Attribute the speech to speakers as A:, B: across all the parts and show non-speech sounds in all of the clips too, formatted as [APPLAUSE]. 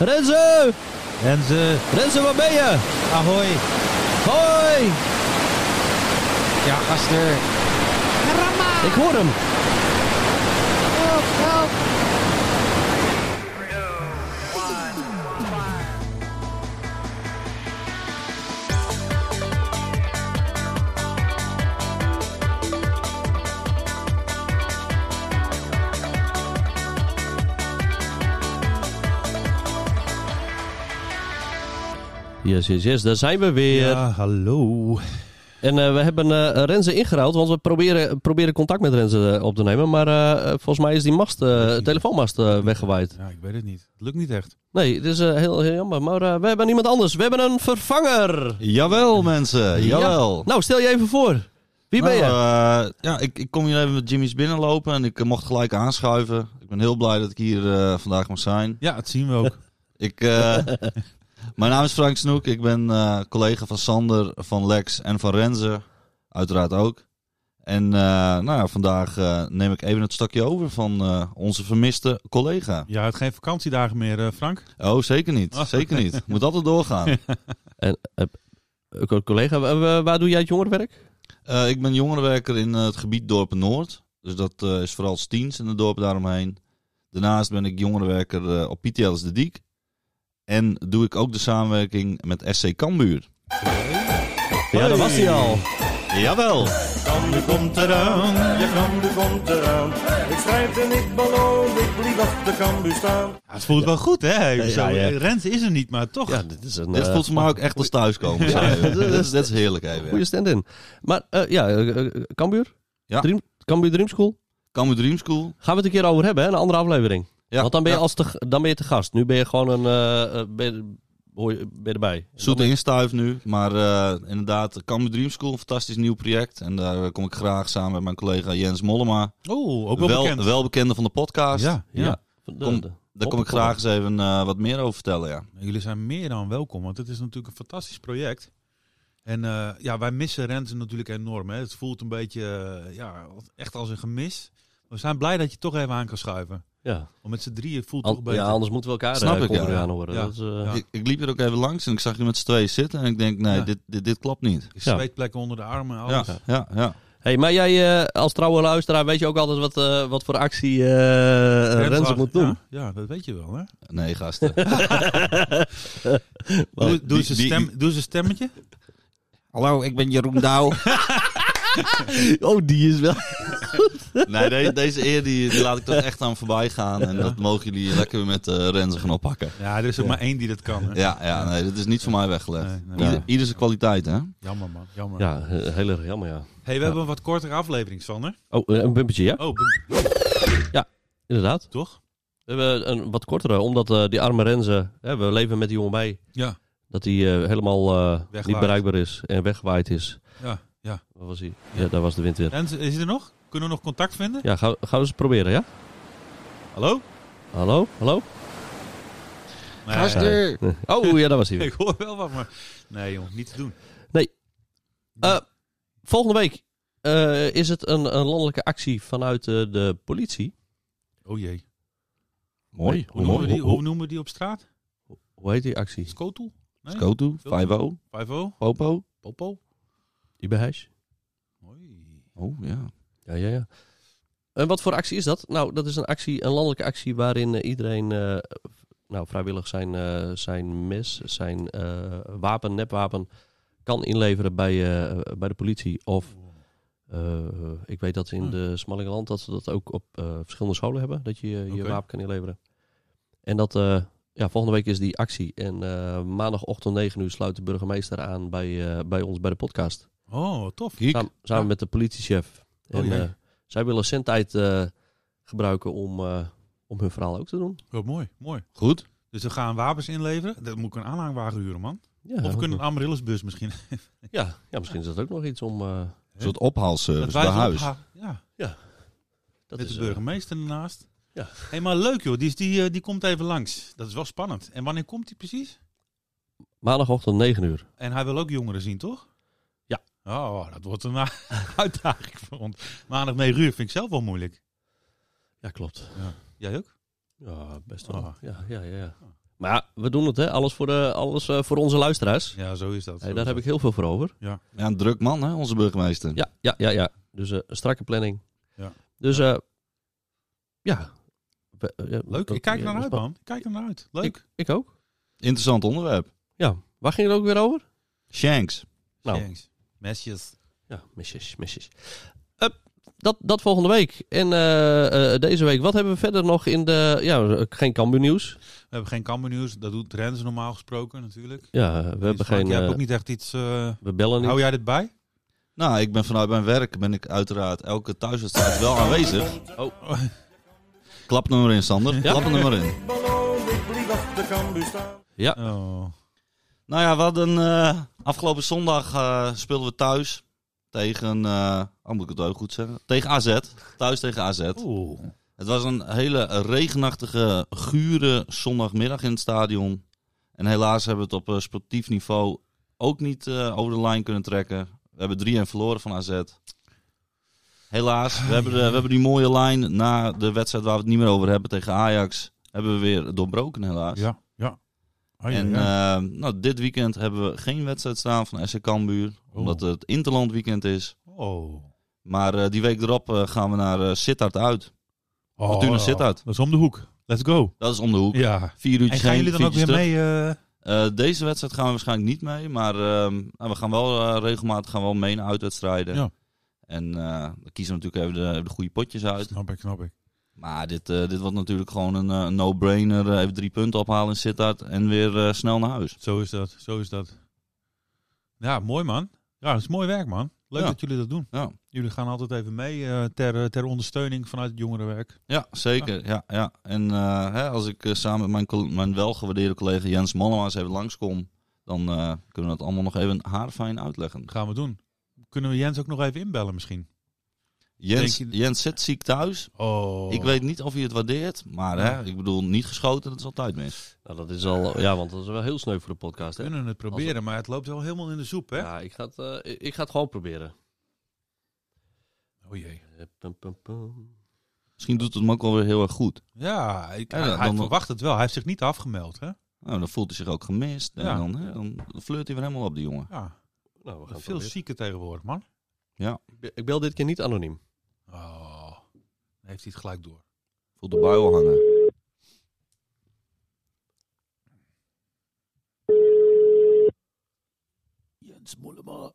A: Renze!
B: En ze,
A: Renze, waar ben je?
B: ahoy.
A: Hoi!
B: Ja, gasten.
A: Ik hoor hem. Yes, yes, yes, daar zijn we weer.
B: Ja, hallo.
A: En eh, we hebben eh Renze ingeruild, want we proberen, proberen contact met Renze eh, op te nemen. Maar eh, eh, volgens mij is die mast, eh, de telefoonmast eh, weggewaaid.
B: Ja, ik weet het niet. Het lukt niet echt.
A: Nee, het is eh, heel, heel jammer. Maar eh, we hebben niemand anders. We hebben een vervanger.
C: Jawel, mensen. Jawel.
A: Nou, stel je even voor. Wie ben je?
C: Oh. Nou, eh, ja, ik, ik kom hier even met Jimmy's binnenlopen en ik eh, mocht gelijk aanschuiven. Ik ben heel blij dat ik hier eh, vandaag mag zijn.
B: Ja, dat zien we ook.
C: Ik, eh, [LAUGHS] mijn naam is Frank Snoek. Ik ben eh, collega van Sander, van Lex en van Renze. Uiteraard ook. En eh, nou ja, vandaag eh, neem ik even het stakje over van eh, onze vermiste collega.
B: Ja, het geen vakantiedagen meer, eh, Frank.
C: Oh, zeker niet.
B: Oh.
C: Zeker niet. Moet altijd doorgaan.
A: Ook een collega, Wa- wa- waar doe jij het jongerenwerk?
C: Eh, ik ben jongerenwerker in eh, het gebied Dorpen Noord. Dus dat eh, is vooral Stiens en de dorpen daaromheen. Daarnaast ben ik jongerenwerker eh, op Pietelis de Diek. En doe ik ook de samenwerking met SC Cambuur.
A: Ja, dat was hij al.
C: Jawel!
D: Cambuur komt eraan, ja Cambuur komt eraan. Ik strijd en ik beloon, ik blijf achter Cambuur staan.
B: Ja, het voelt wel goed, hè?
A: Ja,
B: Zo,
A: ja.
B: Rens is er niet, maar toch.
A: Ja, dit is een
C: dit
A: eh,
C: voelt voor mij ook echt als thuiskomen. zou je- dit, is, dit is heerlijk even.
A: goede stand-in. Maar eh, ja, eh, eh, Cambuur?
C: Ja.
A: Dream, Cambuur Dream School?
C: Cambuur Dream School.
A: Gaan we het een keer over hebben, hè? Een andere aflevering.
C: Ja,
A: Want dan ben je,
C: ja.
A: als te, dan ben je te gast. Nu ben je gewoon een... eh, eh, ben, je- hoor je, ben je erbij.
C: Zoete instuif nu. Maar eh, inderdaad, Cambuur Dream School, een fantastisch nieuw project. En daar kom ik graag samen met mijn collega Jens Mollema.
B: Oh, ook wel, bekend.
C: welbekende van de podcast.
B: Ja, ja.
A: Ja. De-
C: Kom,
A: de-
C: Daar kom ik graag eens even eh, wat meer over vertellen, ja.
B: Nou, Jullie zijn meer dan welkom, want het is natuurlijk een fantastisch project. En eh, ja, wij missen Rens natuurlijk enorm. Hè. Het voelt een beetje eh, ja, echt als een gemis. We zijn blij dat je toch even aan kan schuiven.
A: Ja.
B: Want met z'n drieën voelt het
A: An-
B: toch beter.
A: ja, anders moeten we elkaar
C: Snap
A: eh,
C: ik,
A: continu
C: ja.
A: aanhoren.
B: Ja.
A: Dat is, eh,
B: Ja.
C: Ik, ik liep er ook even langs en ik zag je met z'n tweeën zitten. En ik denk, nee,
B: Ja. Oh,
C: dit, dit, dit klopt niet.
A: Ja.
B: Zweetplekken onder de armen,
C: Ja,
B: alles.
C: ja, ja.
A: Hey, maar jij eh, als trouwe luisteraar weet je ook altijd wat, eh, wat voor actie eh Renze,
B: wacht,
A: moet doen.
B: Ja, ja, dat weet je wel, hè? [LAUGHS]
C: Nee, gasten.
B: Doe, doe,
C: die-
B: ze
C: die-
B: stem, doe ze stemmetje.
C: Hallo, ik ben Jeroen Douw.
A: [LAUGHS] Oh, die is wel.
C: [LAUGHS] nee, de- deze eer die, die laat ik toch echt aan voorbij gaan. En dat mogen jullie lekker weer met eh Renze gaan oppakken.
B: Ja, er is er maar één die dat kan. Hè?
C: Ja, ja, nee, dit is niet voor mij weggelegd.
B: Nee, nee.
C: Ieder, ieder zijn kwaliteit, hè?
B: Jammer, man. Jammer.
A: Ja, eh, heel erg jammer, ja.
B: hey, we hebben een wat kortere aflevering, Sander.
A: Oh, eh, een bumpertje, ja?
B: Oh, bum-
A: Inderdaad.
B: toch?
A: We hebben een wat kortere, omdat eh, die arme Renze, hè, we leven met die jongen mee,
B: Ja,
A: dat hij helemaal eh, niet
B: Wegwaaid.
A: bereikbaar is en weggewaaid is.
B: ja, ja.
A: Waar was hij? Ja, daar was de wind weer.
B: Rens, is hij er nog? Kunnen we nog contact vinden?
A: Ja, gaan, gaan we eens proberen, ja?
B: Hallo?
A: Hallo? [LAUGHS] Hallo?
B: Nee,
A: Gasten. Oh, ja, daar was hij weer.
B: [LAUGHS] Ik hoor wel wat, maar... Nee, jongen, niet te doen.
A: Eh, volgende week eh, is het een, een landelijke actie vanuit eh, de politie.
B: Oh jee.
A: Mooi.
B: Hoe noemen, we die, hoe noemen we die op straat?
A: Hoe heet die actie?
B: Skotel? Nee?
C: Skotu,
B: 5-0?
C: 5-0, Popo.
B: Popo?
A: Iberhuis.
B: Mooi.
C: Oh, ja.
A: Ja, ja, ja. En wat voor actie is dat? Nou, dat is een actie, een landelijke actie waarin eh, iedereen eh, nou, vrijwillig zijn, eh, zijn mes, zijn eh, wapen, nepwapen kan inleveren bij, eh, bij de politie. Of eh, ik weet dat
B: Hmm.
A: in de Smallingenland dat ze dat ook op eh, verschillende scholen hebben, dat je je, je
B: Oké.
A: wapen kan inleveren. En dat, eh, ja, volgende week is die actie. En eh, maandagochtend 9 uur sluit de burgemeester aan bij, eh, bij ons bij de podcast.
B: Oh, tof.
C: Kiek.
A: Samen, samen
B: Ja.
A: met de politiechef. En
B: Oh, jee.
A: eh, zij willen zendtijd eh gebruiken om, eh, om hun verhaal ook te doen.
B: Wat Oh, mooi, mooi.
C: Goed.
B: Dus we gaan wapens inleveren. Dat moet ik een aanhangwagen huren, man.
A: Ja,
B: of we kunnen een Amaryllisbus misschien.
A: ja, ja, misschien is dat ook nog iets om... eh,
C: Een soort ophaalservice bij
B: ze op
C: huis.
B: haar- Ja,
A: dat
B: met
A: is,
B: de
A: eh,
B: burgemeester ernaast.
A: ja.
B: hey, maar leuk joh. Die, is- die, eh, die komt even langs. Dat is wel spannend. En wanneer komt hij precies?
A: maandagochtend 9 uur.
B: En hij wil ook jongeren zien, toch?
A: Ja.
B: Oh, dat wordt een [LAUGHS] uitdaging voor ons. Maandag 9 uur vind ik zelf wel moeilijk.
A: Ja, klopt.
B: Jij ook?
A: Ja, best wel.
B: Oh.
A: Ja, ja, ja, ja. Maar ja, we doen het, hè? Alles voor, de, alles, eh, voor onze luisteraars.
B: Ja, zo is dat.
A: Hey, daar heb ik heel veel voor over.
C: Ja, een druk man, hè, onze burgemeester.
A: Ja, ja, ja, ja. Dus eh, een strakke planning.
B: Ja.
A: Dus eh, ja. We- eh, ja.
B: Leuk,
A: dat-
B: ik kijk
A: ja,
B: er
A: dat
B: naar uit,
A: is-
B: man. Ik kijk er naar uit. Leuk.
A: Ik, ik ook.
C: Interessant onderwerp.
A: Ja. Waar ging het ook weer over?
C: Shanks.
A: Nou.
B: Thanks. Mesjes.
A: Ja, misjes, misjes. Eh, dat, dat volgende week. En eh, eh, deze week, wat hebben we verder nog in de... Ja, eh, geen Cambuur nieuws.
B: We hebben geen kammernieuws. Dat doet Rens normaal gesproken natuurlijk.
A: Ja, we hebben geen...
B: Je hebt
A: eh,
B: ook niet echt iets... eh,
A: we bellen niet.
B: hou jij dit bij?
C: Nou, ik ben vanuit mijn werk ben ik uiteraard elke thuiswedstrijd wel aanwezig.
B: Oh,
C: Klap nummer in, Sander. Klap er nummer in.
D: Ballon, ik vlieg af de Cambuur staan.
A: Ja,
B: oh.
C: Nou ja, we hadden eh, afgelopen zondag eh, speelden we thuis tegen. eh oh, moet ik het ook goed zeggen? Tegen AZ. Thuis tegen AZ.
B: Oeh.
C: Het was een hele regenachtige, gure zondagmiddag in het stadion. En helaas hebben we het op eh, sportief niveau ook niet eh, over de lijn kunnen trekken. We hebben 3-1 verloren van AZ. Helaas, we hebben, de- we hebben die mooie lijn na de wedstrijd waar we het niet meer over hebben tegen Ajax. Hebben we weer doorbroken helaas.
B: Ja, ja. Ah, ja,
C: En
B: ja.
C: eh, nou, dit weekend hebben we geen wedstrijd staan van SC Cambuur.
A: eh,
C: Omdat het Interland weekend is.
B: oh.
C: Maar eh, die week erop eh, gaan we naar eh, Sittard uit.
B: Oh,
C: Fortuna
B: ja.
C: Sittard.
B: Dat is om de hoek. Let's go.
C: Dat is om de hoek.
B: Ja.
C: Vier
B: En
C: uurtjes
B: gaan
C: heen,
B: jullie dan ook
C: viertjes
B: weer
C: terug.
B: mee? eh,
C: Eh, deze wedstrijd gaan we waarschijnlijk niet mee. Maar ehm, nou, we gaan wel eh, regelmatig gaan we wel mee naar uitwedstrijden.
B: Ja.
C: En eh we kiezen natuurlijk even de, even de goede potjes uit.
B: Snap ik, snap ik.
C: Maar dit, eh, dit wordt natuurlijk gewoon een eh, no-brainer. Eh, even drie punten ophalen in Sittard en weer eh, snel naar huis.
B: Zo is dat, zo is dat. Ja, mooi man. Ja, dat is mooi werk man. Leuk
C: Ja.
B: dat jullie dat doen.
C: Ja.
B: Jullie gaan altijd even mee eh, ter, eh, ter ondersteuning vanuit het jongerenwerk.
C: Ja, zeker. Ja, ja. En eh, hè, als ik eh, samen met mijn, col- mijn welgewaardeerde collega Jens Mannemaas even langskom, dan eh, kunnen we dat allemaal nog even haarfijn uitleggen.
B: Dat gaan we doen. Kunnen we Jens ook nog even inbellen misschien?
C: Jens,
B: Denk je-
C: Jens zit ziek thuis.
B: Oh.
C: Ik weet niet of hij het waardeert, maar hè, ik bedoel, niet geschoten, dat is altijd mis.
A: nou, dat is al... Ja, want dat is wel heel sneu voor de podcast,
B: We
A: hè?
B: kunnen het proberen, maar het loopt wel helemaal in de soep, hè?
A: Ja, ik ga het, eh, ik- ik ga het gewoon proberen.
B: Oh jee.
A: Eh, pum, pum, pum.
C: Misschien doet het hem ook wel weer heel erg goed.
B: Ja, ik,
C: Ja,
B: hij,
C: dan-
B: hij
C: dan-
B: verwacht het wel. Hij heeft zich niet afgemeld, hè?
C: Nou, dan voelt hij zich ook gemist. En
B: Ja.
C: dan, hè, dan flirt hij weer helemaal op, die jongen.
B: Ja,
A: Nou, we gaan het
B: veel
A: proberen.
B: zieken tegenwoordig, man.
A: Ik be- Ik bel dit keer niet anoniem.
B: Oh, dan heeft hij het gelijk door.
C: Voelt de buil hangen.
B: Jens Mollema.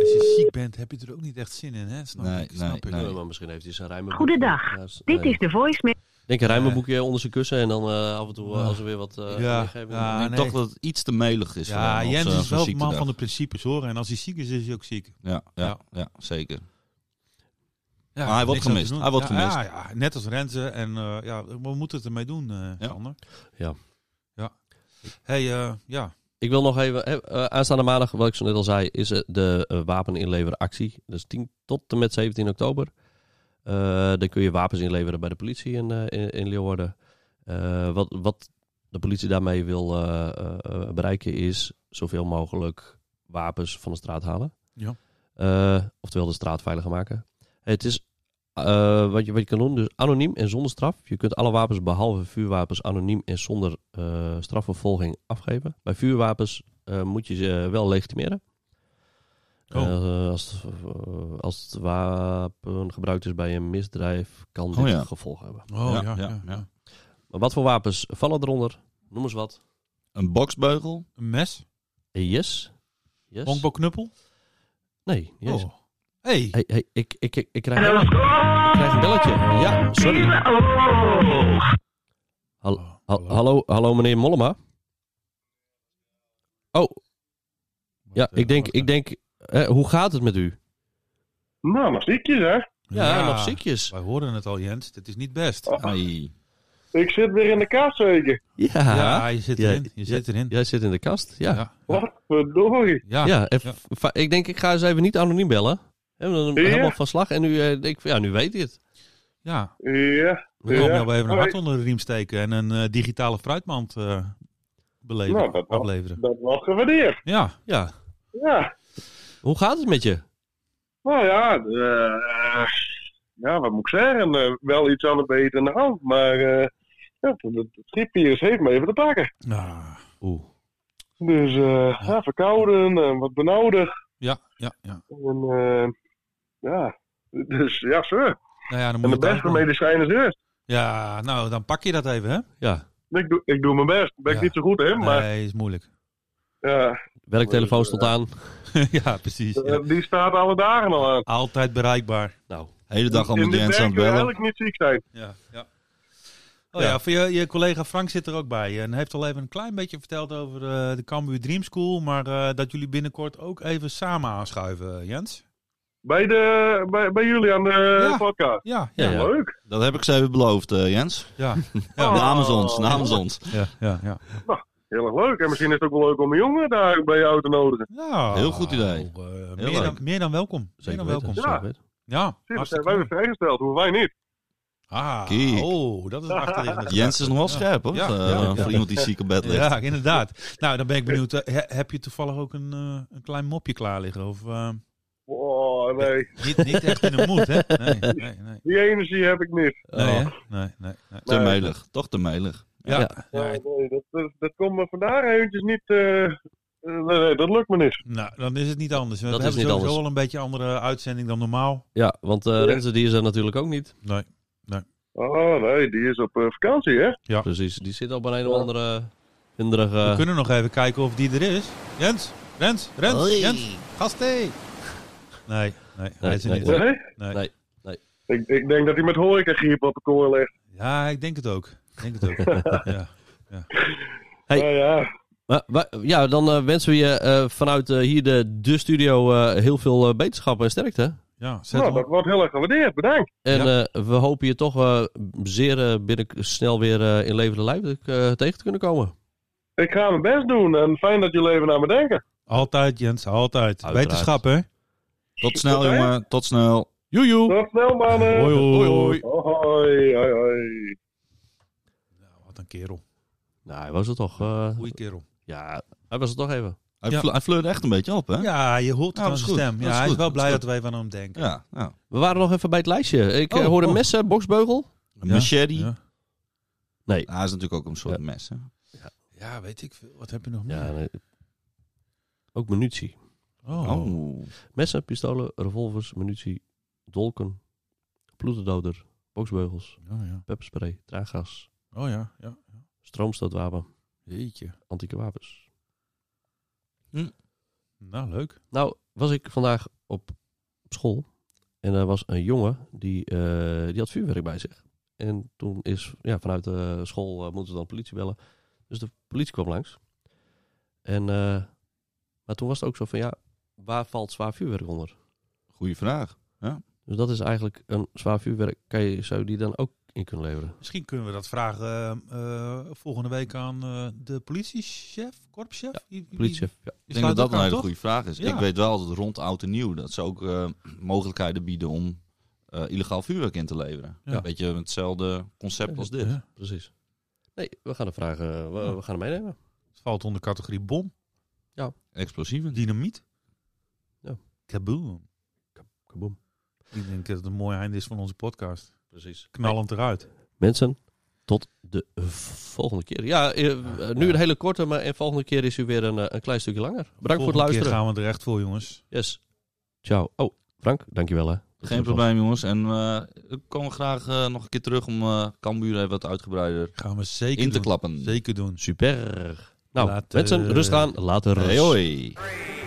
B: als je ziek bent, heb je er ook niet echt zin in, hè? Snap
C: Nee,
B: ik. Snap
C: nee,
B: ik.
C: nee.
A: Maar misschien heeft hij zijn rijmenboekje.
E: Goedendag.
A: Ja, is-
E: Dit
A: nee.
E: is de voicemail.
A: Denk een rijmenboekje onder zijn kussen en dan eh, af en toe eh,
B: Ja.
A: als er weer wat eh
B: Ja.
A: meegeven, dan-
B: Ja.
C: ik
B: Ah,
C: denk
B: nee.
C: toch dat het iets te melig is. voor
B: Ja,
C: hem op eh,
B: Jens
C: zijn-
B: is
C: zijn
B: wel de man
C: ziektedag.
B: van de principes, hoor. En als hij ziek is, is hij ook ziek.
C: Ja, ja,
B: Ja.
C: ja. zeker.
B: Ja,
C: Maar hij wordt
B: niks aan
C: gemist.
B: te doen.
C: Hij wordt
B: Ja,
C: gemist.
B: Ja, ja, net als Renze. En eh, ja, we moeten het ermee doen, eh
C: Ja.
B: Sander.
A: Ja.
B: Ja. Hey, eh, ja.
A: Ik wil nog even, hè, eh, aanstaande maandag, wat ik zo net al zei, is eh, de eh, wapeninleveractie. Dat is 10 tot en met 17 oktober. Eh, dan kun je wapens inleveren bij de politie in, eh, in, in Leeuwarden. Eh, wat, wat de politie daarmee wil eh, eh, eh, bereiken is zoveel mogelijk wapens van de straat halen.
B: Ja.
A: Eh, oftewel de straat veiliger maken. Het is eh, wat, je, wat je kan doen, dus anoniem en zonder straf. Je kunt alle wapens behalve vuurwapens anoniem en zonder eh, strafvervolging afgeven. Bij vuurwapens eh, moet je ze wel legitimeren.
B: Oh.
A: Eh, als, het, eh, als het wapen gebruikt is bij een misdrijf, kan dit
C: Oh ja.
A: gevolgen hebben.
B: Oh, ja,
C: Ja,
B: ja,
C: ja, ja.
A: Maar wat voor wapens vallen eronder? Noem eens wat.
C: Een boksbeugel.
B: Een mes?
A: Yes. yes.
B: Honkbalknuppel?
A: Nee, niet eens.
B: Oh. Hey.
A: Hey, hey, ik, ik, ik, ik krijg, ik krijg een belletje. Ja, sorry.
E: Oh.
A: Hal-
B: Oh,
A: Hal- hallo, hallo meneer Mollema. Oh, ja,
B: Wacht even,
A: ik denk,
B: wacht
A: ik denk eh, hoe gaat het met u?
D: Nou, nog ziekjes, hè?
B: even.
A: Ja, nog ziekjes.
B: Wij horen het al, Jens. Dit is niet best.
E: Oh.
C: Ai.
D: Ik zit weer in de kaart zeker.
A: Ja.
B: Ja, je zit
A: Ja,
B: erin. Je
A: ja.
B: zit erin.
A: Jij zit in de kast? Ja. Ja,
B: Ja.
D: Wat verdorie.
B: Ja.
A: en
B: Ja.
A: fa- ik denk, ik ga eens even niet anoniem bellen. Hè, want dan
D: Ja.
A: Helemaal van slag. En nu, eh, denk ik, van, ja, nu weet hij het.
B: Ja.
D: Ja,
B: We komen
D: Ja.
B: jou wel even een
D: Hoi.
B: hart onder de riem steken en een eh, digitale fruitmand eh, beleveren.
D: Nou, dat wel.
B: afleveren.
D: dat was gewaardeerd.
B: Ja.
A: Ja.
D: Ja.
A: Hoe gaat het met je?
D: Nou ja, eh,
E: ja, wat moet ik zeggen? Eh, wel iets aan de beet in de hand. Maar eh, ja, het, het schippiers heeft me even te pakken.
B: Ah, oeh.
E: Dus eh, ja, verkouden, eh, wat benauwdig.
B: Ja, ja, ja.
E: En, eh, ja, dus ja, sir.
B: Nou ja, dan
E: En
B: moet je
E: de
B: het
E: beste
B: aankomen.
E: medicijn is eerst.
B: Ja, nou, dan pak je dat even, hè?
A: Ja,
E: Ik doe, ik doe mijn best. Ben ik
B: Ja.
E: niet zo goed in, maar
B: Nee, is moeilijk. [LAUGHS]
E: ja,
A: werktelefoon stond aan.
B: ja, precies. ja.
E: eh, die staat alle dagen al aan.
B: Altijd bereikbaar.
A: Nou,
C: Hele dag allemaal
E: in
C: die
E: dit
C: Jens aan
E: werk
C: het
E: kun je
C: bellen.
E: eigenlijk niet ziek zijn.
B: Ja, ja. Oh ja, voor je, je collega Frank zit er ook bij. eh, En heeft al even een klein beetje verteld over eh, de Cambuur Dream School. Maar eh, dat jullie binnenkort ook even samen aanschuiven, eh, Jens.
E: Bij, de, bij, bij jullie aan de
B: Ja.
E: podcast.
B: Ja,
A: ja, ja.
E: Leuk.
C: Dat heb ik ze even beloofd, eh, Jens. [LAUGHS]
B: ja,
E: Oh.
C: Namens ons, namens ons.
B: ja, ja. ja.
E: Heel erg leuk. En misschien is het ook wel leuk om een jongen daar bij jou te nodigen.
B: Ja,
C: Heel goed idee.
B: eh, meer,
C: leuk.
B: dan, meer dan welkom. Meer
A: zeker
B: dan
A: weten.
B: welkom.
E: Ja.
A: Zeker weten.
B: Ja,
E: Zie, dat zijn
B: hartstikke
E: wij weer
B: leuk.
E: vrijgesteld, hoeven wij niet.
B: Ah,
C: Kijk.
B: oh, dat is het achterliggende.
C: [LAUGHS] Jens is nog wel scherp, hoor.
B: Ja,
C: eh,
B: ja, ja.
C: Voor iemand die ziek op bed ligt.
B: Ja, inderdaad. Nou, dan ben ik benieuwd. eh, he- heb je toevallig ook een, eh, een klein mopje klaar liggen? Of eh,
E: Oh, nee.
B: niet, niet echt in de moed, hè? Nee, nee, nee. Nee,
E: Die energie heb ik niet.
B: hè?
A: Oh.
B: nee, nee, nee.
C: Te melig. Toch te melig.
B: Ja,
A: Ja.
B: ja,
E: Oh, nee, dat, dat, dat komt me vandaag eventjes niet... eh, eh, nee, nee, dat lukt me niet.
B: nou, dan is het niet anders. We
A: Dat is
B: hebben
A: niet
B: sowieso
A: anders.
B: al een beetje andere uitzending dan normaal.
A: Ja, want eh Renze die is er natuurlijk ook niet.
B: Nee.
E: Oh, nee, die is op eh, vakantie, hè?
A: Precies, die zit al bij een of
E: Ja.
A: andere eh, hinderige...
B: We kunnen nog even kijken of die er is. Jens, Rens, Rens, Jens, gast hé. Nee, nee, hij is er
A: nee,
B: niet.
A: nee.
E: Nee?
B: Nee.
A: Nee.
E: Ik, ik denk dat hij met horecagriep op de kooi ligt.
B: Ja, ik denk het ook. Ik denk het [LAUGHS] ook. ja.
A: Hey.
E: Nou ja,
A: Maar, maar- ja, dan eh, wensen we je eh, vanuit eh, hier de, de studio eh, heel veel eh, beterschap en sterkte.
B: ja zet
E: nou,
B: hem
E: dat
B: op.
E: wordt heel erg gewaardeerd. Bedankt.
A: En eh, we hopen je toch eh, zeer eh, binnen snel weer eh, in levende lijf eh, tegen te kunnen komen.
E: Ik ga mijn best doen en fijn dat jullie even naar me denken.
B: Altijd, Jens, altijd.
A: Uiteraard.
B: Wetenschap, hè?
C: Tot snel, jongen. Tot snel.
B: Joejoe.
E: Tot snel, mannen.
B: Hoi, hoi, hoi.
E: Hoi, hoi, hoi.
B: Nou, wat een kerel.
A: Nou, hij was er toch. eh,
B: Goeie kerel.
A: ja, hij was er toch even.
C: Hij,
B: Ja.
C: fle- hij fleurde echt een beetje op, hè?
B: Ja, je hoort het
C: Nou,
B: aan
C: dat is
B: zijn
C: goed.
B: stem.
C: Dat
B: Ja,
C: is
B: hij is
C: goed.
B: wel
C: Dat is
B: blij
C: goed.
B: dat we even aan hem denken.
C: Ja, nou. ja.
A: We waren nog even bij het lijstje. Ik eh,
B: Oh,
A: hoorde
B: oh.
A: messen, boksbeugel.
C: Een Machete.
B: Ja.
A: Nee.
C: Hij Ah, is natuurlijk ook een soort
A: Ja.
C: mes, hè?
B: Ja, weet ik veel. Wat heb je nog meer?
A: Ja, nee. Ook munitie.
B: Oh.
C: Oh.
A: Messen, pistolen, revolvers, munitie, dolken, ploetendoder, boksbeugels,
B: Oh ja.
A: pepperspray, traangas,
B: Oh ja. ja.
A: stroomstootwapen,
B: Jeetje.
A: antieke wapens.
B: Nou, leuk.
A: Nou, was ik vandaag op, op school. En er was een jongen die, eh, die had vuurwerk bij zich. En toen is ja, vanuit de school eh, moeten we dan politie bellen. Dus de politie kwam langs. En, eh, maar toen was het ook zo van ja, waar valt zwaar vuurwerk onder?
C: Goeie vraag.
A: Dus dat is eigenlijk een zwaar vuurwerk. Kan je, zou je die dan ook in kunnen leveren?
B: Misschien kunnen we dat vragen eh, eh, volgende week aan eh, de politiechef, korpschef. Wie- wie-
A: Politiechef. Ja.
B: die
C: Ik denk
B: sluit
C: dat dat
B: ook
C: een
B: aan,
C: hele
B: toch?
C: goede vraag is.
B: Ja.
C: Ik weet wel dat rond oud en nieuw dat ze ook eh, mogelijkheden bieden om eh, illegaal vuurwerk in te leveren.
B: Ja.
C: Een beetje hetzelfde concept als dit.
B: Ja. dus
A: Precies. Nee, we gaan de vragen, eh, we, we gaan hem meenemen.
B: Het valt onder categorie bom,
C: Explosieven.
B: dynamiet.
A: Ja.
B: Kaboom.
A: Kaboom.
B: Ik denk dat het een mooi einde is van onze podcast.
A: Precies.
B: Knallend eruit.
A: Mensen, tot de volgende keer. Ja, eh, eh, nu een hele korte, maar en volgende keer is u weer een, eh, een klein stukje langer. Bedankt voor het
B: Volgende keer
A: luisteren.
B: gaan we er echt voor, jongens.
A: Yes. Ciao. Oh, Frank, dankjewel hè. Dat
C: Geen
A: was-
C: probleem, jongens. En eh, we komen graag eh, nog een keer terug om eh Cambuur even wat uitgebreider
B: Gaan we zeker
C: in te
B: doen.
C: klappen.
B: Zeker doen.
A: Super. Nou,
B: Later.
A: mensen, rust aan. Later.
C: Hey, hoi.
E: Three,